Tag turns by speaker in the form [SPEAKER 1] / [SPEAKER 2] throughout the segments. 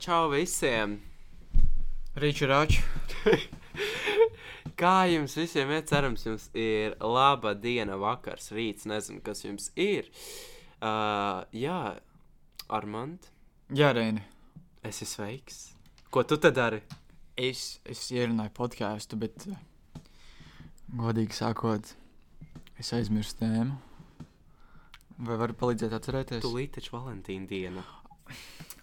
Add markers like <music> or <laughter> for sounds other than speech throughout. [SPEAKER 1] čau visiem!
[SPEAKER 2] Riču Raču.
[SPEAKER 1] Kā jums visiem ir? Cerams, jums ir laba diena, vakars, rīts. Nezinu, kas jums ir. Uh, jā, Armand,
[SPEAKER 2] Jā, Reini.
[SPEAKER 1] es esmu sveiks. Ko tu te dari?
[SPEAKER 2] Es, es ierunāju podkāstu, bet, eh, godīgi sakot, es aizmirsu tēmu. Vai varu palīdzēt atcerēties?
[SPEAKER 1] Tūlīt taču Valentīna <gasps> diena.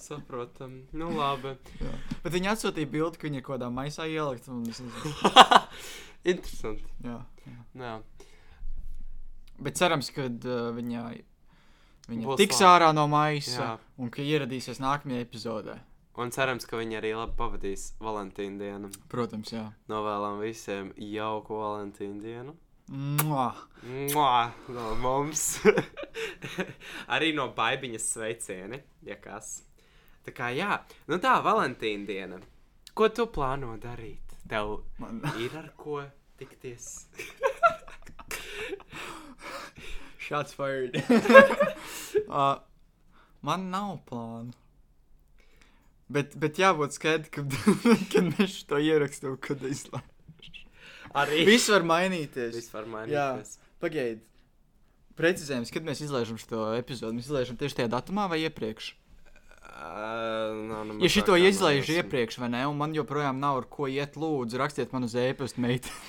[SPEAKER 1] Saprotam, nu <laughs> labi.
[SPEAKER 2] bet viņi atsūtīja bildi, ka viņi ir kaut kādā maisā ielikt. un es nezinu.
[SPEAKER 1] Interesanti. Nu
[SPEAKER 2] Jā.
[SPEAKER 1] Jā.
[SPEAKER 2] Bet cerams, ka uh, viņa, viņa
[SPEAKER 1] Būs
[SPEAKER 2] tiks
[SPEAKER 1] labi.
[SPEAKER 2] ārā no maisa
[SPEAKER 1] Jā.
[SPEAKER 2] Jā. un ka ieradīsies nākamajā epizodē.
[SPEAKER 1] Un cerams, ka viņi arī labi pavadīs Valentīnu dienu.
[SPEAKER 2] Protams, jā.
[SPEAKER 1] Novēlam visiem jauku Valentīnu dienu.
[SPEAKER 2] Mua.
[SPEAKER 1] Mua, no mums. <laughs> arī no baigiņas sveicieni, ja kas. Tā kā jā, nu tā, Valentīna diena. Ko tu plāno darīt? Tev
[SPEAKER 2] Man... <laughs>
[SPEAKER 1] ir ar ko tikties?
[SPEAKER 2] Shots fired. uh, man nav plāna. Bet, bet jābūt skaidram, <laughs> kad, kad mēs to ierakstām, kad izlaižam.
[SPEAKER 1] Arī
[SPEAKER 2] Viss var mainīties.
[SPEAKER 1] vispār mainīties.
[SPEAKER 2] Pagaidiet, precizējums, kad mēs izlaižam šo episodu. Mēs izlaižam tieši tajā datumā vai iepriekš?
[SPEAKER 1] Ā, nav nemaz
[SPEAKER 2] Ja šito
[SPEAKER 1] tā, kā
[SPEAKER 2] izlaižu
[SPEAKER 1] mēs-
[SPEAKER 2] iepriekš, vai ne, un man joprojām nav ar ko iet, lūdzu, rakstiet man uz e-pasta <laughs> meitu.
[SPEAKER 1] <laughs>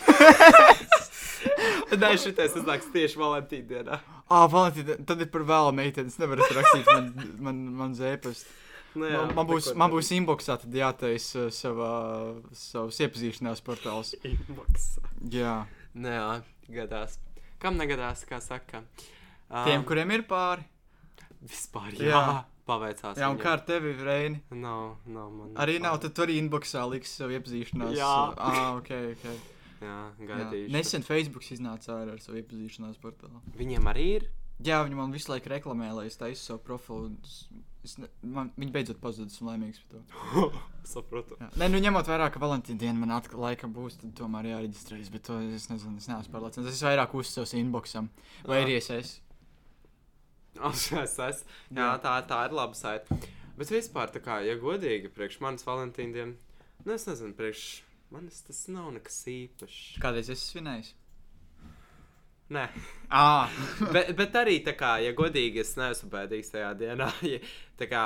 [SPEAKER 1] Nē, šitais iznāks tieši Valentīna dienā.
[SPEAKER 2] Ah, Valentīna, tad ir par vēlu meiteni. Es nevaru rakstīt man, man, man uz e-pasta.
[SPEAKER 1] Nu, jā,
[SPEAKER 2] Man, man,
[SPEAKER 1] tā
[SPEAKER 2] būs,
[SPEAKER 1] ko
[SPEAKER 2] man
[SPEAKER 1] tad?
[SPEAKER 2] būs inboxā, tad jātaisa uh, savā, savs iepazīšanās portāls.
[SPEAKER 1] Inbox.
[SPEAKER 2] Jā,
[SPEAKER 1] Nē, Nu jā, gadās. Kam negadās, kā saka? Um,
[SPEAKER 2] tiem, kuriem ir pāri.
[SPEAKER 1] Vispār jā, jā.
[SPEAKER 2] Jā.
[SPEAKER 1] paveicās.
[SPEAKER 2] Jā, un
[SPEAKER 1] viņiem.
[SPEAKER 2] kā ar tevi, Reini?
[SPEAKER 1] Nav, nav man.
[SPEAKER 2] Arī nav,
[SPEAKER 1] pār-
[SPEAKER 2] tad tu arī inboxā liksi savu iepazīšanās.
[SPEAKER 1] Jā.
[SPEAKER 2] ah, ok, ok.
[SPEAKER 1] Jā,
[SPEAKER 2] Jā.
[SPEAKER 1] gaidīšu.
[SPEAKER 2] Nesen Facebook iznāca ārā ar savu iepazīšanās portālu.
[SPEAKER 1] Viņiem arī ir.
[SPEAKER 2] Jā, viņi man visu laiku reklamē, lai es taisu savu profilu. un es- es Ne... Man, viņi beidzot pazuda, esmu laimīgs par to.
[SPEAKER 1] <laughs> Saprotu.
[SPEAKER 2] Jā. Nē, nu ņemot vērā, ka Valentīna diena man atkal laika būs, tad tomēr jāreģistrējas. Bet to es nezinu, es neesmu pārliecināts. Es vairāk uzsācu inboxam. Vai
[SPEAKER 1] Ah.
[SPEAKER 2] arī es esmu?
[SPEAKER 1] Es esmu. Jā, tā, tā ir laba saita. Bet vispār, tā kā, ja godīgi, priekš manas Valentīna dienas, nu es nezinu, priekš manis tas nav nekas īpašs.
[SPEAKER 2] Kādreiz es svinēju?
[SPEAKER 1] Nē.
[SPEAKER 2] <laughs> Ah,
[SPEAKER 1] <laughs> bet, bet arī, tā kā, ja godīgi, es neesmu bēdīgs tajā dienā. <laughs> Ja, tā kā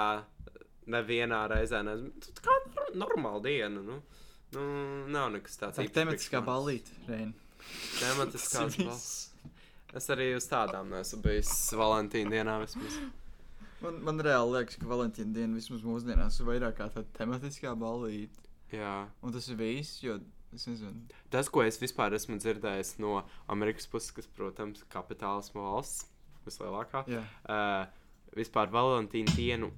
[SPEAKER 1] nevienā reizē, ne, nu, tā kā nor- normāla diena. Nu. Nu, nav nekas tāds
[SPEAKER 2] tā ir
[SPEAKER 1] īpašs
[SPEAKER 2] tematiskā
[SPEAKER 1] priekš manis.
[SPEAKER 2] balīte, Reina.
[SPEAKER 1] Tematiskā
[SPEAKER 2] <laughs> Tas ir
[SPEAKER 1] balīte. Es arī uz tādām neesmu bijis Valentīna dienā. Vismaz.
[SPEAKER 2] Man, man reāli liekas, ka Valentīna diena vismaz mūsdienās ir vairāk kā tāda tematiskā balīte.
[SPEAKER 1] Jā.
[SPEAKER 2] Un tas ir viss, jo es nezinu.
[SPEAKER 1] Tas, ko es vispār esmu dzirdējis no Amerikas puses, kas, protams, ir kapitālisma valsts vislielākā.
[SPEAKER 2] Jā,
[SPEAKER 1] uh, vispār Valentīna dienu.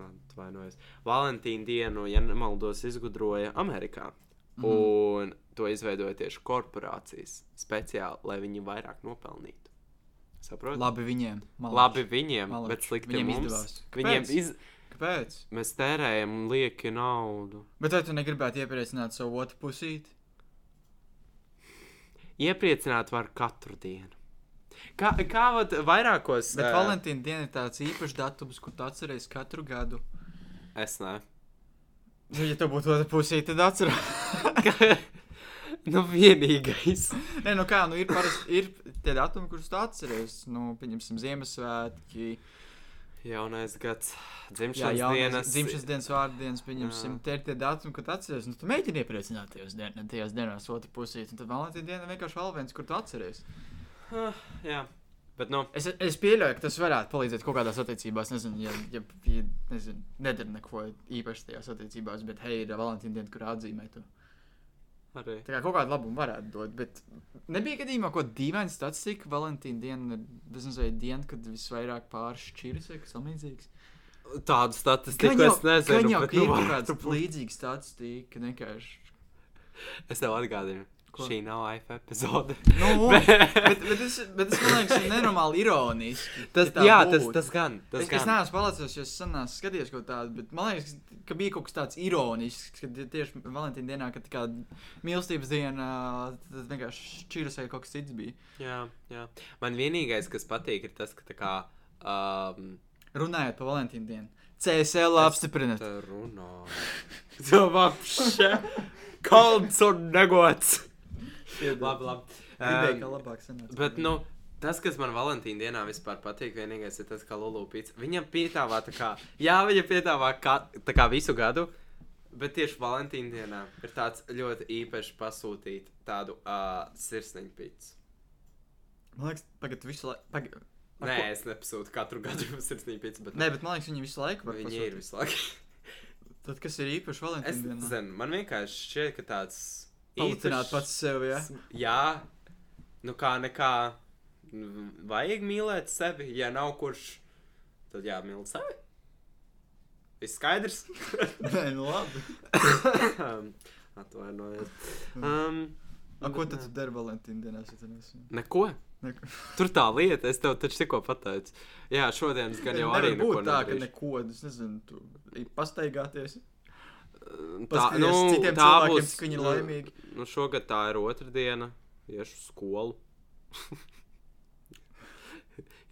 [SPEAKER 1] Nā, Atvainojos. Valentīna dienu, ja nemaldos, izgudroja Amerikā.
[SPEAKER 2] Mhm.
[SPEAKER 1] Mm -hmm. Un to izveidoja tieši korporācijas speciāli, lai viņi vairāk nopelnītu. Saprotiet?
[SPEAKER 2] labi viņiem. Malači.
[SPEAKER 1] Labi viņiem, Malači.
[SPEAKER 2] Malači.
[SPEAKER 1] bet slikti
[SPEAKER 2] Viņiem
[SPEAKER 1] mums.
[SPEAKER 2] izdevās.
[SPEAKER 1] Viņiem
[SPEAKER 2] Kāpēc?
[SPEAKER 1] iz...
[SPEAKER 2] Kāpēc?
[SPEAKER 1] Mēs tērējam lieki naudu.
[SPEAKER 2] Bet vai tu negribētu iepriecināt savu otru pusīti?
[SPEAKER 1] Iepriecināt var katru dienu. Kā, kā vat vairākos?
[SPEAKER 2] Bet
[SPEAKER 1] eh,
[SPEAKER 2] Valentīna diena ir tāds īpašs datums, kur tu atceries katru gadu.
[SPEAKER 1] Es ne. <laughs>
[SPEAKER 2] Nu, ja tev būtu otra pusīte, tad atceries.
[SPEAKER 1] nu, vienīgais.
[SPEAKER 2] Nē, nu kā, nu ir, parasti, ir tie datumi, kurus tu atceries. Nu, pieņemsim, Ziemassvētki,
[SPEAKER 1] Jaunais gads,
[SPEAKER 2] jā,
[SPEAKER 1] dzimšanas
[SPEAKER 2] jaunais-
[SPEAKER 1] dienas.
[SPEAKER 2] dzimšanas dienas, vārdienas, pieņemsim,
[SPEAKER 1] Jā.
[SPEAKER 2] tie ir tie datumi, kur tu atceries. Nu, tu mēģini iepriecināt tajos, dien, tajās dienās otru pusīti, un tad Valentīna diena vienkārši vēl viens, kur tu atceries.
[SPEAKER 1] Jā, bet nu,
[SPEAKER 2] Es, es pieļauju, ka tas varētu palīdzēt kaut kādās attiecībās. Nezinu, ja, ja, ja nezinu, nedara neko īpaši tajās attiecībās, bet hei, ir Valentīna diena, kur atzīmēt.
[SPEAKER 1] arī.
[SPEAKER 2] Tā kā kaut kādu labumu varētu dot, bet nebija gadījumā, ko dīvains tāds cik Valentīna diena, ir, es nezinu, vai diena, kad visvairāk pāršķiras vai kas tamlīdzīgs.
[SPEAKER 1] Tādu statistiku jau, es nezinu.
[SPEAKER 2] Gan jau
[SPEAKER 1] bet,
[SPEAKER 2] ka ir
[SPEAKER 1] nu,
[SPEAKER 2] kaut kāds
[SPEAKER 1] varētu būt. <laughs>
[SPEAKER 2] līdzīgs statistika, vienkārši.
[SPEAKER 1] Es tev atgādinu,
[SPEAKER 2] Ko?
[SPEAKER 1] Šī nav AIF epizode. <laughs>
[SPEAKER 2] Nu,
[SPEAKER 1] Bet-
[SPEAKER 2] bet, bet, es, bet es domāju, ka tas ir nenormāli ironiski.
[SPEAKER 1] Tas,
[SPEAKER 2] ja tā
[SPEAKER 1] jā, tas,
[SPEAKER 2] būtu.
[SPEAKER 1] tas gan. Tas
[SPEAKER 2] Es, es
[SPEAKER 1] gan.
[SPEAKER 2] neesmu palicis, jo es senās skatījos kaut tādu, bet man liekas, ka bija kaut kas tāds ironisks, ka tie- tieši Valentīna dienā, kad tā kā mīlestības diena, tad vienkārši šķiras vai kaut kas cits bija.
[SPEAKER 1] Jā, jā. Man vienīgais, kas patīk, ir tas, ka tā kā.
[SPEAKER 2] <laughs>
[SPEAKER 1] Um,
[SPEAKER 2] Runājot par Valentīnu dienu. CSL apstiprināt.
[SPEAKER 1] Tā runā. <laughs> Tā <laughs> vapšē. Kalns un negods. Labi, labi.
[SPEAKER 2] Gribēju,
[SPEAKER 1] Ehm,
[SPEAKER 2] ka labāk sanāca.
[SPEAKER 1] Bet, nu, tas, kas man Valentīna dienā vispār patīk, vienīgais ir tas, ka Lulūpīts. Viņa piedāvā, tā kā, jā, viņa piedāvā kā, tā kā visu gadu, bet tieši Valentīna dienā ir tāds ļoti īpašs pasūtīt tādu uh, sirsniņu pīci.
[SPEAKER 2] Man liekas, tagad visu laiku. Pag... Ar
[SPEAKER 1] Nē,
[SPEAKER 2] ko?
[SPEAKER 1] es nepasūtu katru gadu <laughs> sirsniņu pīci, bet
[SPEAKER 2] Nē, bet man liekas, viņi visu laiku var
[SPEAKER 1] viņi ir
[SPEAKER 2] pasūtīt.
[SPEAKER 1] visu laiku.
[SPEAKER 2] Tad kas ir īpaši
[SPEAKER 1] Es
[SPEAKER 2] Valentīna dienā?
[SPEAKER 1] zinu, man vienkārši šķiet, ka tāds
[SPEAKER 2] Palutināt pats sevi, jā.
[SPEAKER 1] S- Jā, nu kā nekā. mm, Vajag mīlēt sevi, ja nav kurš. Tad jāmīl sevi. Viss
[SPEAKER 2] <laughs>
[SPEAKER 1] skaidrs.
[SPEAKER 2] Nē, nu labi.
[SPEAKER 1] <laughs> Atvainojiet. Um,
[SPEAKER 2] A, ko tad tu dari Valentīna dienā? es nezinu?
[SPEAKER 1] Neko.
[SPEAKER 2] Neko.
[SPEAKER 1] Tur tā lieta, es tev taču tikko pateicu. Jā, šodienas gan jau arī
[SPEAKER 2] Nevar
[SPEAKER 1] neko
[SPEAKER 2] būt tā, ka
[SPEAKER 1] nedarīšu.
[SPEAKER 2] neko, es nezinu, tu ej pastaigāties.
[SPEAKER 1] Tā,
[SPEAKER 2] Paskaties
[SPEAKER 1] nu,
[SPEAKER 2] citiem
[SPEAKER 1] tā
[SPEAKER 2] cilvēkiem,
[SPEAKER 1] būs.
[SPEAKER 2] cik viņi ir
[SPEAKER 1] nu,
[SPEAKER 2] laimīgi.
[SPEAKER 1] Nu, šogad tā ir otra diena. Iešu uz skolu. <laughs>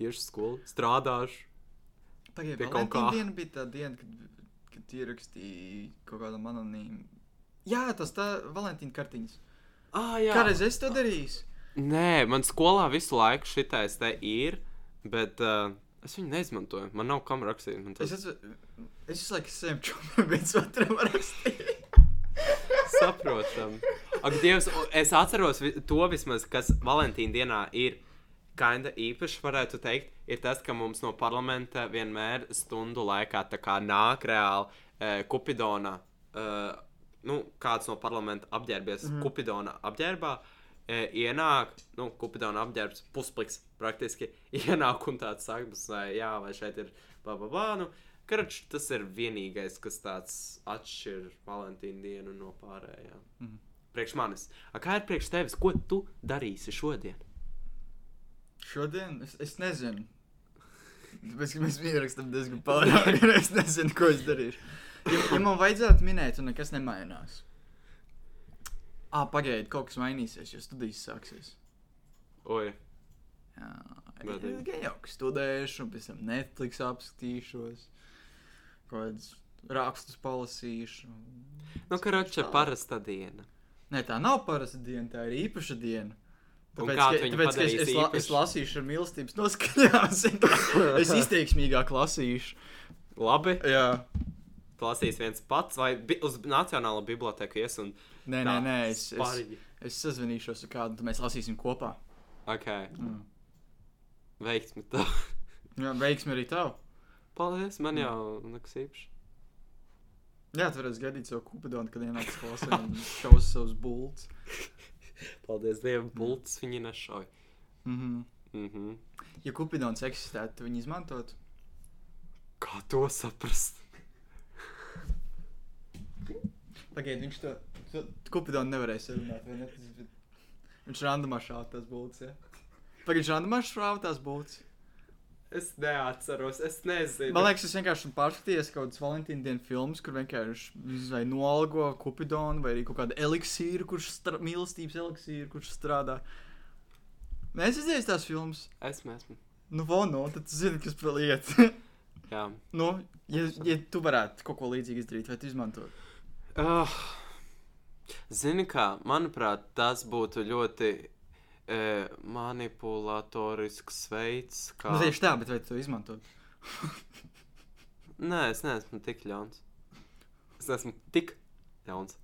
[SPEAKER 1] Iešu uz skolu, strādāšu.
[SPEAKER 2] Tagad
[SPEAKER 1] Pie
[SPEAKER 2] jau
[SPEAKER 1] kaut
[SPEAKER 2] tā
[SPEAKER 1] kā.
[SPEAKER 2] diena bija tā diena, kad, kad ierakstīja kaut kādam anonīmu. Jā, tas tā Valentīna kartiņas.
[SPEAKER 1] Ah, jā,
[SPEAKER 2] Kādreiz es to darīju?
[SPEAKER 1] Nē, man skolā visu laiku šitais te ir, bet uh, es viņu neizmantoju. Man nav kam rakstīt. Man
[SPEAKER 2] Es
[SPEAKER 1] tas
[SPEAKER 2] esmu, es visu laiku saviem čomiem viens otram rakstīju.
[SPEAKER 1] <laughs> saprotam. <laughs> Ak, Dievs, o, es atceros vi- to vismaz, kas Valentīna dienā ir. Kinda īpaši varētu teikt, ir tas, ka mums no parlamenta vienmēr stundu laikā tā kā nāk reāli e, Kupidona, e, nu, kāds no parlamenta apģērbies mm. Kupidona apģērbā, e, ienāk, nu, Kupidona apģērbs puspliks praktiski, <laughs> ienāk un tāds sakums, vai jā, vai šeit ir bababā, nu, karč, tas ir vienīgais, kas tāds atšķir Valentīnu dienu no pārējām. Mm. Priekš manis. A, kā ir priekš tevis? Ko tu darīsi šodien?
[SPEAKER 2] Šodien es, es nezinu. Tāpēc, ka mēs ierakstām diezgan pārāk, un es nezinu, ko es darīšu. Ja, ja man vajadzētu minēt, un nekas nemainās. Ah, pagaidiet, kaut kas mainīsies, jo studijas sāksies.
[SPEAKER 1] Oi.
[SPEAKER 2] Jā,
[SPEAKER 1] Bet-
[SPEAKER 2] es gan jau ka studēšu, un pēc tam Netflix apskatīšos, kaut kādus rakstus palasīšu.
[SPEAKER 1] Nu, karoča
[SPEAKER 2] Tālāk.
[SPEAKER 1] parasta diena.
[SPEAKER 2] Nē, tā nav parasta diena, tā ir īpaša diena.
[SPEAKER 1] Un kā
[SPEAKER 2] Tāpēc, ka,
[SPEAKER 1] tu viņu
[SPEAKER 2] tāpēc ka es, es,
[SPEAKER 1] padarīsi
[SPEAKER 2] la, es
[SPEAKER 1] īpašu?
[SPEAKER 2] lasīšu ar mīlestības noskaņām, <laughs> es izteiksmīgāk lasīšu.
[SPEAKER 1] Labi.
[SPEAKER 2] Jā,
[SPEAKER 1] Tu lasīsi viens pats, vai bi uz Nacionālo biblioteku ies un.
[SPEAKER 2] nē, nē, nē es, es,
[SPEAKER 1] Spārīgi.
[SPEAKER 2] es sazvanīšos ar kādu, tad mēs lasīsim kopā.
[SPEAKER 1] Ok.
[SPEAKER 2] Mm.
[SPEAKER 1] Veiksmi tev.
[SPEAKER 2] Jā, veiksmi arī tev.
[SPEAKER 1] <laughs> Paldies, man jau nekas īpašs.
[SPEAKER 2] Jā, tu varēsi gadīt savu kupidonu, kad ienāks klasē
[SPEAKER 1] <laughs>
[SPEAKER 2] un šaus savus bults.
[SPEAKER 1] Paldies Dievam, bultas viņi nešauj.
[SPEAKER 2] Mm -hmm.
[SPEAKER 1] Mm. Mhm.
[SPEAKER 2] Ja kupidons eksistētu, tad viņi izmantotu.
[SPEAKER 1] Kā to saprast?
[SPEAKER 2] Pagaidiet, viņš to, to kupidonu nevarēs sarunāt, vai ne? Tas bija- Viņš randumā šāva tās bults, jā. Pagaidiet, viņš randumā šāva tās bults.
[SPEAKER 1] Es neatceros, es nezinu.
[SPEAKER 2] Man liekas, es vienkārši esmu pārskatījis kaut kādas Valentīna dienas filmas, kur vienkārši vai noalgo kupidonu, vai arī kaut kādu eliksīru, kurš strādā, mīlestības eliksīru, kurš strādā. Mēs izdarījām tās filmas.
[SPEAKER 1] Esmu, esmu.
[SPEAKER 2] Nu, vono, tad tu zini, kas par lietu.
[SPEAKER 1] Jā.
[SPEAKER 2] <laughs> nu, ja, ja tu varētu kaut ko līdzīgu izdarīt, vai tu izmantotu?
[SPEAKER 1] Uh, zini, kā, manuprāt, tas būtu ļoti eh, manipulatorisks veids, kā.
[SPEAKER 2] Nu, tieši tā, bet vai tu to izmantotu?
[SPEAKER 1] Nē, es neesmu tik ļauns. Es esmu tik ļauns.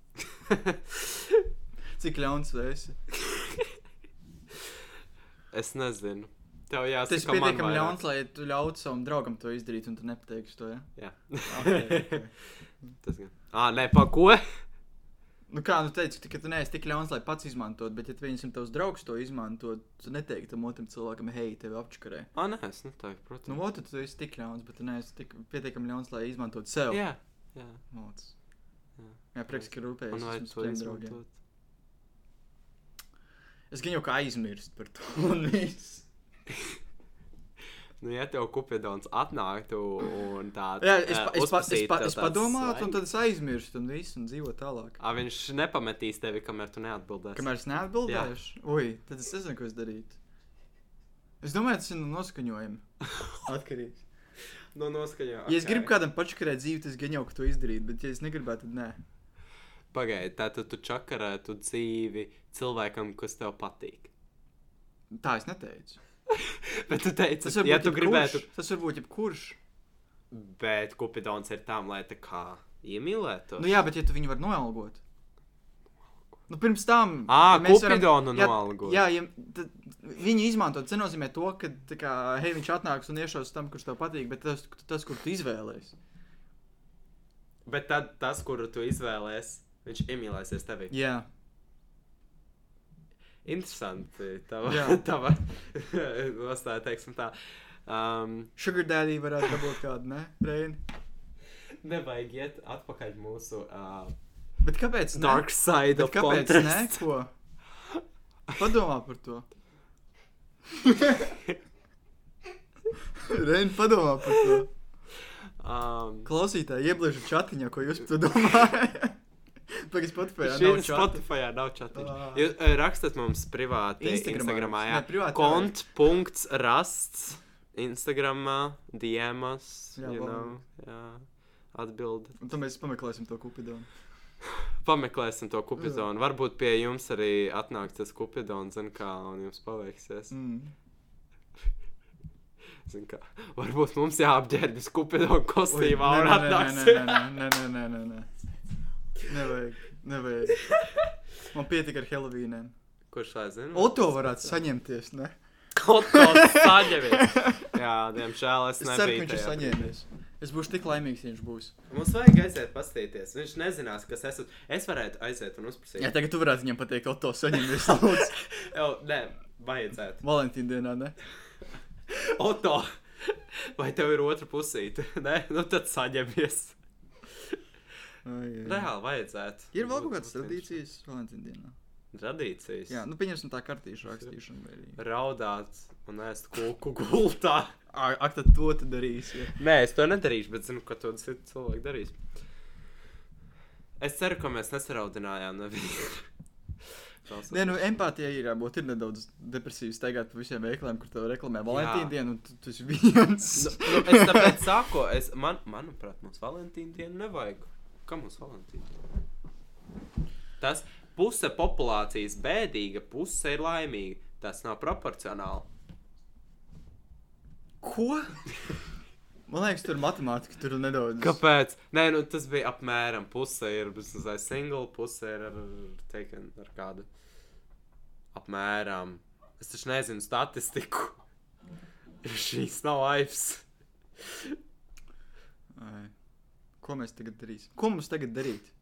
[SPEAKER 2] <laughs>
[SPEAKER 1] <laughs>
[SPEAKER 2] Cik ļauns tu esi?
[SPEAKER 1] es nezinu. Tev
[SPEAKER 2] Tu
[SPEAKER 1] jāsaka,
[SPEAKER 2] esi pietiekami ļauns, lai tu ļautu savam draugam to izdarīt, un tu nepateiksi to, jā?
[SPEAKER 1] Jā,
[SPEAKER 2] Okay, okay.
[SPEAKER 1] <laughs> tas gan. Ah, nē, pa ko?
[SPEAKER 2] Nu, kā nu teicu, ka tu neesi tik ļauns, lai pats izmantotu, bet, ja viņam tavs draugs to izmanto, tu neteiktu tam otram cilvēkam, hei, tevi apčakarē.
[SPEAKER 1] Ah, nē, es neteiktu, protams.
[SPEAKER 2] Nu, otru tu esi tik ļauns, bet tu neesi tik pietiekami ļauns, lai izmantotu sev.
[SPEAKER 1] jā, jā.
[SPEAKER 2] Moc.
[SPEAKER 1] Jā.
[SPEAKER 2] Jā, prieks, ka
[SPEAKER 1] Man
[SPEAKER 2] rūpējies
[SPEAKER 1] vajag
[SPEAKER 2] par
[SPEAKER 1] to
[SPEAKER 2] tiem draugiem.
[SPEAKER 1] izmantot.
[SPEAKER 2] Es gan jau kā aizmirst par to. <laughs> un viss.
[SPEAKER 1] Nu, ja tev kupidons atnāktu un tā
[SPEAKER 2] Jā,
[SPEAKER 1] eh,
[SPEAKER 2] es, pa, es, pa, es,
[SPEAKER 1] uzpasītu
[SPEAKER 2] pa,
[SPEAKER 1] tev
[SPEAKER 2] es
[SPEAKER 1] tāds
[SPEAKER 2] padomāju, un
[SPEAKER 1] slaids.
[SPEAKER 2] tad es aizmirstu, un viss, un dzīvo tālāk.
[SPEAKER 1] Ā, viņš nepametīs tevi, kamēr tu neatbildēsi.
[SPEAKER 2] Kamēr es neatbildēšu, ui, tad es nezinu, ko es darītu. Es domāju, tas ir no
[SPEAKER 1] <laughs>
[SPEAKER 2] noskaņojuma. Atkarīgs.
[SPEAKER 1] No noskaņā.
[SPEAKER 2] Ja es gribu kādam pačakarēt dzīvi, tas gan jau ka to izdarītu, bet ja es negribētu, tad nē.
[SPEAKER 1] Pagaidi, tātad tu čakarētu dzīvi cilvēkam, kas tev patīk. <laughs>
[SPEAKER 2] Tā es neteicu.
[SPEAKER 1] Bet tu teici,
[SPEAKER 2] Tas var būt
[SPEAKER 1] ja tu
[SPEAKER 2] jebkurš.
[SPEAKER 1] gribētu.
[SPEAKER 2] Tas var būt jebkurš.
[SPEAKER 1] Bet kupidons ir tam, lai tā kā iemīlētu.
[SPEAKER 2] Nu jā, bet ja tu viņu var noalgot. Nu, pirms tam
[SPEAKER 1] Ā,
[SPEAKER 2] ja mēs
[SPEAKER 1] Kupidonu
[SPEAKER 2] ja-
[SPEAKER 1] noalgot.
[SPEAKER 2] Jā, ja, tad viņu izmantot, tas nenozīmē to, ka tā kā, hei, viņš atnāks un iešos tam, kurš tev patīk, bet tas, tas kur tu izvēlējies.
[SPEAKER 1] Bet tad tas, kuru tu izvēlēsies, viņš iemīlēsies tevī.
[SPEAKER 2] Jā,
[SPEAKER 1] Interesanti. Tava,
[SPEAKER 2] Jā.
[SPEAKER 1] <laughs> tava nostāja, teiksim tā. Um,
[SPEAKER 2] sugar daddy varētu būt kāda, ne? Reini.
[SPEAKER 1] nevajag iet atpakaļ mūsu uh,
[SPEAKER 2] Bet kāpēc? ne?
[SPEAKER 1] dark side
[SPEAKER 2] Bet
[SPEAKER 1] of
[SPEAKER 2] kāpēc?
[SPEAKER 1] <laughs>
[SPEAKER 2] Nē,
[SPEAKER 1] contrast.
[SPEAKER 2] ko? Padomā par
[SPEAKER 1] <laughs>
[SPEAKER 2] to. <laughs> Reini, padomā par to.
[SPEAKER 1] Um,
[SPEAKER 2] Klausītāji, ieblīžu chatiņā, ko jūs par to domājat. <laughs> Pagaidzi, Spotify.
[SPEAKER 1] Šī ir Spotify, nav čatā.
[SPEAKER 2] Ah.
[SPEAKER 1] Jūs eh, rakstat mums privāti
[SPEAKER 2] Instagramā.
[SPEAKER 1] Instagramā, jā.
[SPEAKER 2] Ne, privāti
[SPEAKER 1] Kont. punkts Rasts. Instagramā, DMs.
[SPEAKER 2] Jā,
[SPEAKER 1] You know,
[SPEAKER 2] labi.
[SPEAKER 1] jā. Atbildi.
[SPEAKER 2] Un tad mēs pameklēsim to kupidonu.
[SPEAKER 1] Pameklēsim to kupidonu. Varbūt pie jums arī atnāks tas kupidons, zin kā, un jums paveiksies.
[SPEAKER 2] Mm.
[SPEAKER 1] Zin kā, varbūt mums jāapģērbjas kupidonu kostīmā
[SPEAKER 2] Ui,
[SPEAKER 1] un
[SPEAKER 2] nē,
[SPEAKER 1] atnāks.
[SPEAKER 2] Nē, nē, nē, nē, nē, nē, nē, nē. Nevajag, nevajag. Man pietika ar Helovīnēm.
[SPEAKER 1] Kurš lai zina?
[SPEAKER 2] Oto varētu saņemties, ne?
[SPEAKER 1] Oto saņemies. Jā, diemžēl es
[SPEAKER 2] Es ceru, ka
[SPEAKER 1] nebiju.
[SPEAKER 2] viņš ir
[SPEAKER 1] tajā brīdī.
[SPEAKER 2] saņēmies. Es būšu tik laimīgs, ja viņš būs.
[SPEAKER 1] Mums vajag aiziet paskatīties. Viņš nezinās, kas esmu. Es varētu aiziet un uzprasīt.
[SPEAKER 2] Jā, tagad tu varētu viņam pateikt, Oto
[SPEAKER 1] <laughs>
[SPEAKER 2] saņemies. Lūdzu.
[SPEAKER 1] Jau, nē, vajadzētu.
[SPEAKER 2] Valentīna dienā, ne?
[SPEAKER 1] Oto, vai tev ir otra pusīte? <laughs> Nē, nu tad saņemies.
[SPEAKER 2] Ai, ai.
[SPEAKER 1] Reāli vajadzētu.
[SPEAKER 2] Ir vēl
[SPEAKER 1] Būt-
[SPEAKER 2] kaut
[SPEAKER 1] būt
[SPEAKER 2] kādas
[SPEAKER 1] viņš-
[SPEAKER 2] tradīcijas Valentīna dienā.
[SPEAKER 1] Tradīcijas.
[SPEAKER 2] Jā, nu pieņemsim tā kartīšu rakstīšanu. vai arī-
[SPEAKER 1] Raudāt un ēst kūku gultā. <laughs>
[SPEAKER 2] Ai, Ak, tad to tu darīsi. ja.
[SPEAKER 1] Nē, es to nedarīšu, bet zinu, ka to citi cilvēki darīs. Es ceru, ka mēs nesaraudinājām nevienu.
[SPEAKER 2] Nē, nu, empātija ir jābūt. Ir nedaudz depresīva staigāt pa visiem veikaliem, kur te reklamē Valentīna dienu, un tu, tu esi viens.
[SPEAKER 1] Nu, <laughs> nu, es tāpēc saku, es, man, manuprāt, mums Valentīna diena nevajag. Kā mums Valentīna diena? Tas puse populācijas bēdīga, puse ir laimīga. Tas nav proporcionāli.
[SPEAKER 2] <laughs> Ko? Man liekas, tur matemātika tur nedaudz.
[SPEAKER 1] Kāpēc? Nē, nu, tas bija apmēram puse ir bezmaksas single, puse ir ar, taken, ar kādu. Apmēram. Es taču nezinu statistiku. <laughs> Šīs nav aips.
[SPEAKER 2] Ai. Ko mēs tagad darīsim? Ko mums tagad darīt?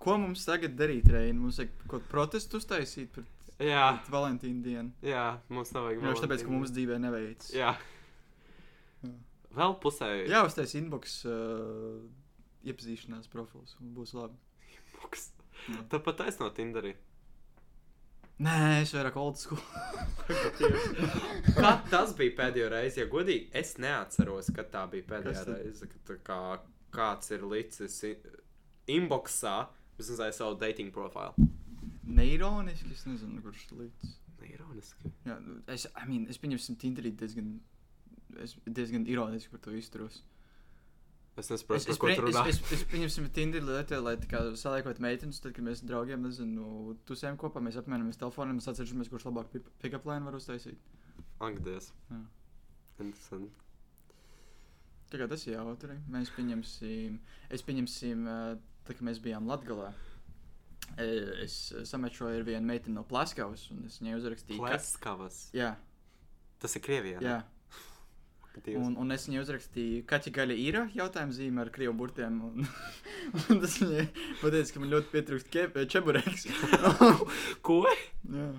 [SPEAKER 2] Ko mums tagad darīt, Reina? Mums vajag kaut kādu protestu uztaisīt par
[SPEAKER 1] Jā,
[SPEAKER 2] pret Valentīna dienu.
[SPEAKER 1] jā, mums nav vajag.
[SPEAKER 2] Vienkārši Nu, tāpēc,
[SPEAKER 1] Valentīna
[SPEAKER 2] ka mums dzīvē neveic.
[SPEAKER 1] Jā.
[SPEAKER 2] Jā.
[SPEAKER 1] Vēl pusē.
[SPEAKER 2] Jā uztais inbox uh, iepazīšanās profils. un Būs labi.
[SPEAKER 1] Puks.
[SPEAKER 2] Jā.
[SPEAKER 1] Tāpat taisno Tinderī.
[SPEAKER 2] Nē, es vairāk old
[SPEAKER 1] <laughs>
[SPEAKER 2] school.
[SPEAKER 1] Kad tas bija pēdējo reizi, ja godīgi, es neatceros, kad tā bija pēdējā
[SPEAKER 2] Kas tad?
[SPEAKER 1] reize, kad tā kā, kāds ir licis i- inboxā, vismaz aiz savu dating profilu.
[SPEAKER 2] Neironiski, es nezinu, kurš līdz.
[SPEAKER 1] Ironiski.
[SPEAKER 2] Jā, nu, es, I mean, es pieņemsim, Tinderī diezgan, es diezgan ironiski par to izturos.
[SPEAKER 1] Es nesaprotu,
[SPEAKER 2] Es,
[SPEAKER 1] par
[SPEAKER 2] es,
[SPEAKER 1] ko
[SPEAKER 2] pre,
[SPEAKER 1] tur
[SPEAKER 2] es,
[SPEAKER 1] runā.
[SPEAKER 2] es, es pieņemsim, Tinderī lietu, lai tā kā saliekot meitenes, tad, kad mēs draugiem, nezinu, tusējam kopā, mēs apmainamies telefoniem, mēs atceršamies, kurš labāk pi- pick-up line var uztaisīt.
[SPEAKER 1] Angdies.
[SPEAKER 2] Jā.
[SPEAKER 1] Interesanti.
[SPEAKER 2] Tā kā tas ir jautri. Mēs pieņemsim, es pieņemsim, eh, tā kā mēs bijām Latgalā. eh, Es eh, samečoju ar vienu meiteni no Plaskavas, un es viņai uzrakstīju. ka-
[SPEAKER 1] Pleskavas.
[SPEAKER 2] Jā,
[SPEAKER 1] Tas ir Krievijā.
[SPEAKER 2] jā.
[SPEAKER 1] Dievs.
[SPEAKER 2] Un, un es viņai uzrakstīju, ka tā gaļa ir jautājuma zīme ar krievu burtiem. Un, <laughs> un tas viņa pateica, ka man ļoti pietrūkst ke-
[SPEAKER 1] <laughs>
[SPEAKER 2] čebureks.
[SPEAKER 1] <laughs> Ko?
[SPEAKER 2] Jā.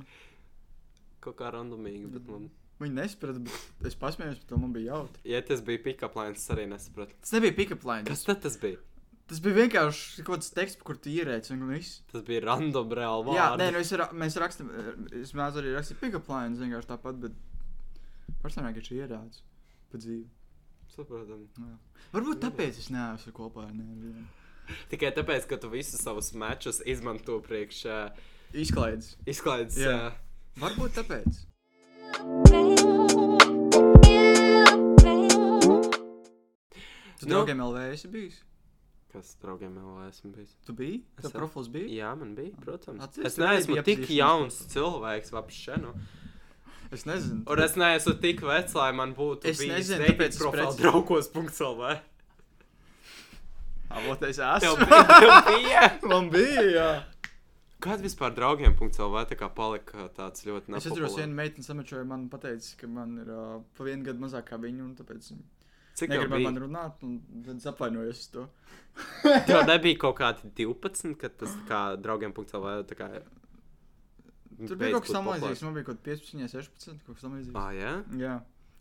[SPEAKER 1] Kaut kā randomīgi,
[SPEAKER 2] Mm.
[SPEAKER 1] bet man.
[SPEAKER 2] Viņa nesaprata, bet es pasmējos, bet man bija jautri.
[SPEAKER 1] Ja tas bija pick-up lines, es arī nesapratu.
[SPEAKER 2] Tas nebija pick-up line.
[SPEAKER 1] Kas
[SPEAKER 2] Tas,
[SPEAKER 1] tad tas bija?
[SPEAKER 2] Tas bija vienkārši kaut kāds teksts, kur tu ierēci un viss.
[SPEAKER 1] Tas bija random reāli vārds.
[SPEAKER 2] Jā, nē, nu es ra mēs rakstām, es mēdzu arī rakstīt pickup lines vienkārši tāpat, bet personīgi viņš ierēdz pa dzīvi. nu-
[SPEAKER 1] Saprotam.
[SPEAKER 2] Varbūt tāpēc es neesmu kopā ar nevienu.
[SPEAKER 1] Tikai tāpēc, ka tu visus savus mečus izmanto priekš uh,
[SPEAKER 2] Izklaides.
[SPEAKER 1] izklaides. Uh,
[SPEAKER 2] Jā. Varbūt tāpēc.
[SPEAKER 1] Nu.
[SPEAKER 2] Tu no. draugiem LV esi bijis?
[SPEAKER 1] kas draugiem vēl esmu bijis?
[SPEAKER 2] Tu biji?
[SPEAKER 1] Es
[SPEAKER 2] Tev
[SPEAKER 1] ar-
[SPEAKER 2] profils bija?
[SPEAKER 1] Jā, man bija, protams.
[SPEAKER 2] Atceries,
[SPEAKER 1] es
[SPEAKER 2] tev arī
[SPEAKER 1] neesmu
[SPEAKER 2] bija
[SPEAKER 1] tik
[SPEAKER 2] apzīšanās
[SPEAKER 1] jauns cilvēks, apšēnu.
[SPEAKER 2] Es nezinu.
[SPEAKER 1] Un es neesmu tik vecs, lai man būtu.
[SPEAKER 2] Es
[SPEAKER 1] bijis
[SPEAKER 2] nezinu,
[SPEAKER 1] dating
[SPEAKER 2] tāpēc es
[SPEAKER 1] profils
[SPEAKER 2] preci-
[SPEAKER 1] draugos.lv.
[SPEAKER 2] <laughs> Avotais
[SPEAKER 1] <laughs> Tev
[SPEAKER 2] esmu.
[SPEAKER 1] bija- tev bija.
[SPEAKER 2] <laughs> Man bija, jā.
[SPEAKER 1] Kad vispār draugiem.lv tā kā palika tāds ļoti
[SPEAKER 2] Es atceros,
[SPEAKER 1] nepopulārs?
[SPEAKER 2] viena meitene samačoja man teica, ka man ir uh, pa vienu gadu mazāk kā viņa, un tāpēc viņa
[SPEAKER 1] Cik tev
[SPEAKER 2] negribēja
[SPEAKER 1] bija?
[SPEAKER 2] man runāt, un tad es apvainojos uz to.
[SPEAKER 1] <laughs> Tev nebija kaut kādi 12, kad tas tā kā draugiem.lv tā kā.
[SPEAKER 2] Tur bija kaut kas tamlīdzīgs, man bija kaut kāds 15, 16, kaut kas tamlīdzīgs.
[SPEAKER 1] Ah, jā?
[SPEAKER 2] Jā.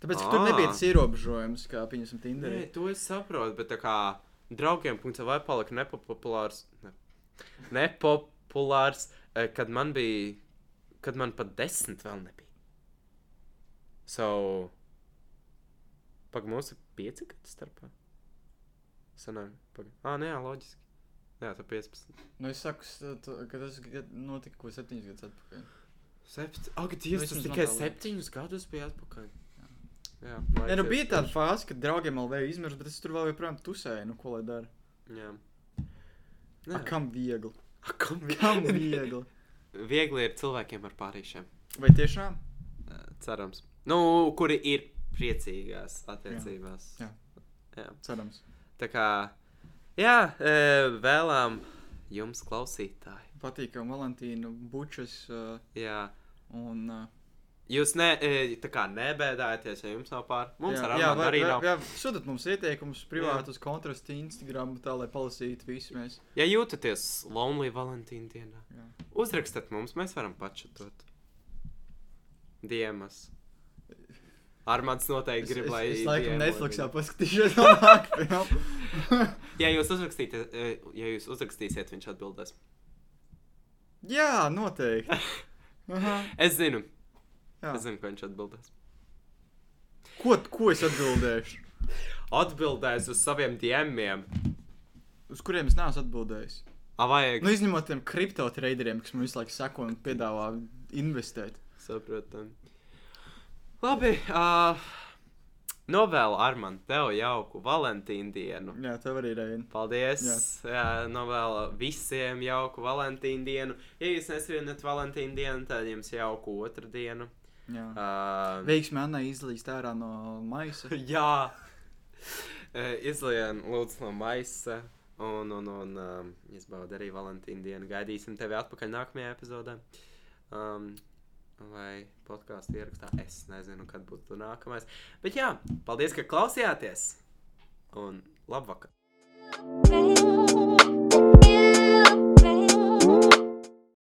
[SPEAKER 2] Tāpēc, ka tur
[SPEAKER 1] Ā.
[SPEAKER 2] nebija tas ierobežojums, kā pieņemsim Tinderī.
[SPEAKER 1] Nē, to es saprotu, bet tā kā draugiem.lv palika nepopulārs. Ne, nepopulārs, eh, kad man bija. Kad man pat desmit vēl nebija. So. Pag mums ir pieci gadi starpā. Sanāk, pag. Ah, nē, jā, loģiski. Jā, tā 15.
[SPEAKER 2] Nu, es saku, s- to- ka tas gad- notika kaut kas 7 gadus atpakaļ.
[SPEAKER 1] Sept... Ak, Dievs, tas
[SPEAKER 2] Vismaz man
[SPEAKER 1] tikai
[SPEAKER 2] tā liekas.
[SPEAKER 1] septiņus gadus bija atpakaļ. Jā,
[SPEAKER 2] Nē, nu
[SPEAKER 1] vajadzētu-
[SPEAKER 2] bija tāda fāze, kad draugiem LV izmirs, bet es tur vēl joprojām tusēju, nu, ko lai dara.
[SPEAKER 1] Jā.
[SPEAKER 2] Nē,
[SPEAKER 1] Nē,
[SPEAKER 2] kam viegli? <laughs>
[SPEAKER 1] ak, kam
[SPEAKER 2] Kam viegli?
[SPEAKER 1] Viegli ir cilvēkiem ar pārīšiem.
[SPEAKER 2] Vai tiešām?
[SPEAKER 1] Cerams. Nu, kuri ir priecīgās attiecībās.
[SPEAKER 2] Jā. Cerams.
[SPEAKER 1] Tā kā, jā, e, vēlām jums klausītāji.
[SPEAKER 2] Patīkam Valentīnu, bučas uh,
[SPEAKER 1] Jā.
[SPEAKER 2] un. Uh,
[SPEAKER 1] Jūs ne, e, tā kā nebēdājieties, ja jums nav pār. Mums jā, ar
[SPEAKER 2] jā,
[SPEAKER 1] Armānu arī
[SPEAKER 2] jā,
[SPEAKER 1] nav.
[SPEAKER 2] jā, sūtiet mums ieteikumus privātus kontrastu Instagram, tā lai palasītu visu mēs.
[SPEAKER 1] Ja jūtaties lonely Valentīna dienā, jā.
[SPEAKER 2] Jā.
[SPEAKER 1] uzrakstiet mums, mēs varam pačatot. Diemas. Armāns noteikti grib,
[SPEAKER 2] es,
[SPEAKER 1] lai.
[SPEAKER 2] es, es laikam
[SPEAKER 1] diemo
[SPEAKER 2] Netflixā
[SPEAKER 1] viņu.
[SPEAKER 2] paskatīšos <laughs> vēlāk. filmu.
[SPEAKER 1] <laughs> Ja jūs, uzrakstīsiet, e, ja jūs uzrakstīsiet, viņš atbildēs.
[SPEAKER 2] jā, noteikti. Aha,
[SPEAKER 1] Es zinu,
[SPEAKER 2] jā.
[SPEAKER 1] es zinu, ko viņš atbildēs.
[SPEAKER 2] Ko, ko es atbildēšu?
[SPEAKER 1] atbildēs uz saviem diemiem.
[SPEAKER 2] Uz kuriem es neesmu atbildējis?
[SPEAKER 1] A, vajag.
[SPEAKER 2] Nu,
[SPEAKER 1] Nu,
[SPEAKER 2] izņemot tiem kripto traderiem, kas man visu laiku sako un piedāvā investēt.
[SPEAKER 1] Saprotam. Labi. Uh, novēlu Armand tev jauku Valentīnu dienu.
[SPEAKER 2] Jā, tev arī ir.
[SPEAKER 1] Paldies! Jā, jā novēlu visiem jauku Valentīnu dienu. Ja jūs nesvinat Valentīnu dienu, tad jums jauku otru dienu.
[SPEAKER 2] Jā.
[SPEAKER 1] Uh,
[SPEAKER 2] Veiksmi Annai izlīst ārā no maisa.
[SPEAKER 1] <laughs> jā! Uh, Izlienu lūdzu no maisa. Un, un, un um, izbaudi arī Valentīnu dienu. Gaidīsim tevi atpakaļ nākamajā epizodē. Um, vai podkāstu ierakstā. Es nezinu, kad būtu nākamais. Bet jā, paldies, ka klausījāties! Un labvakar!
[SPEAKER 3] Thank you.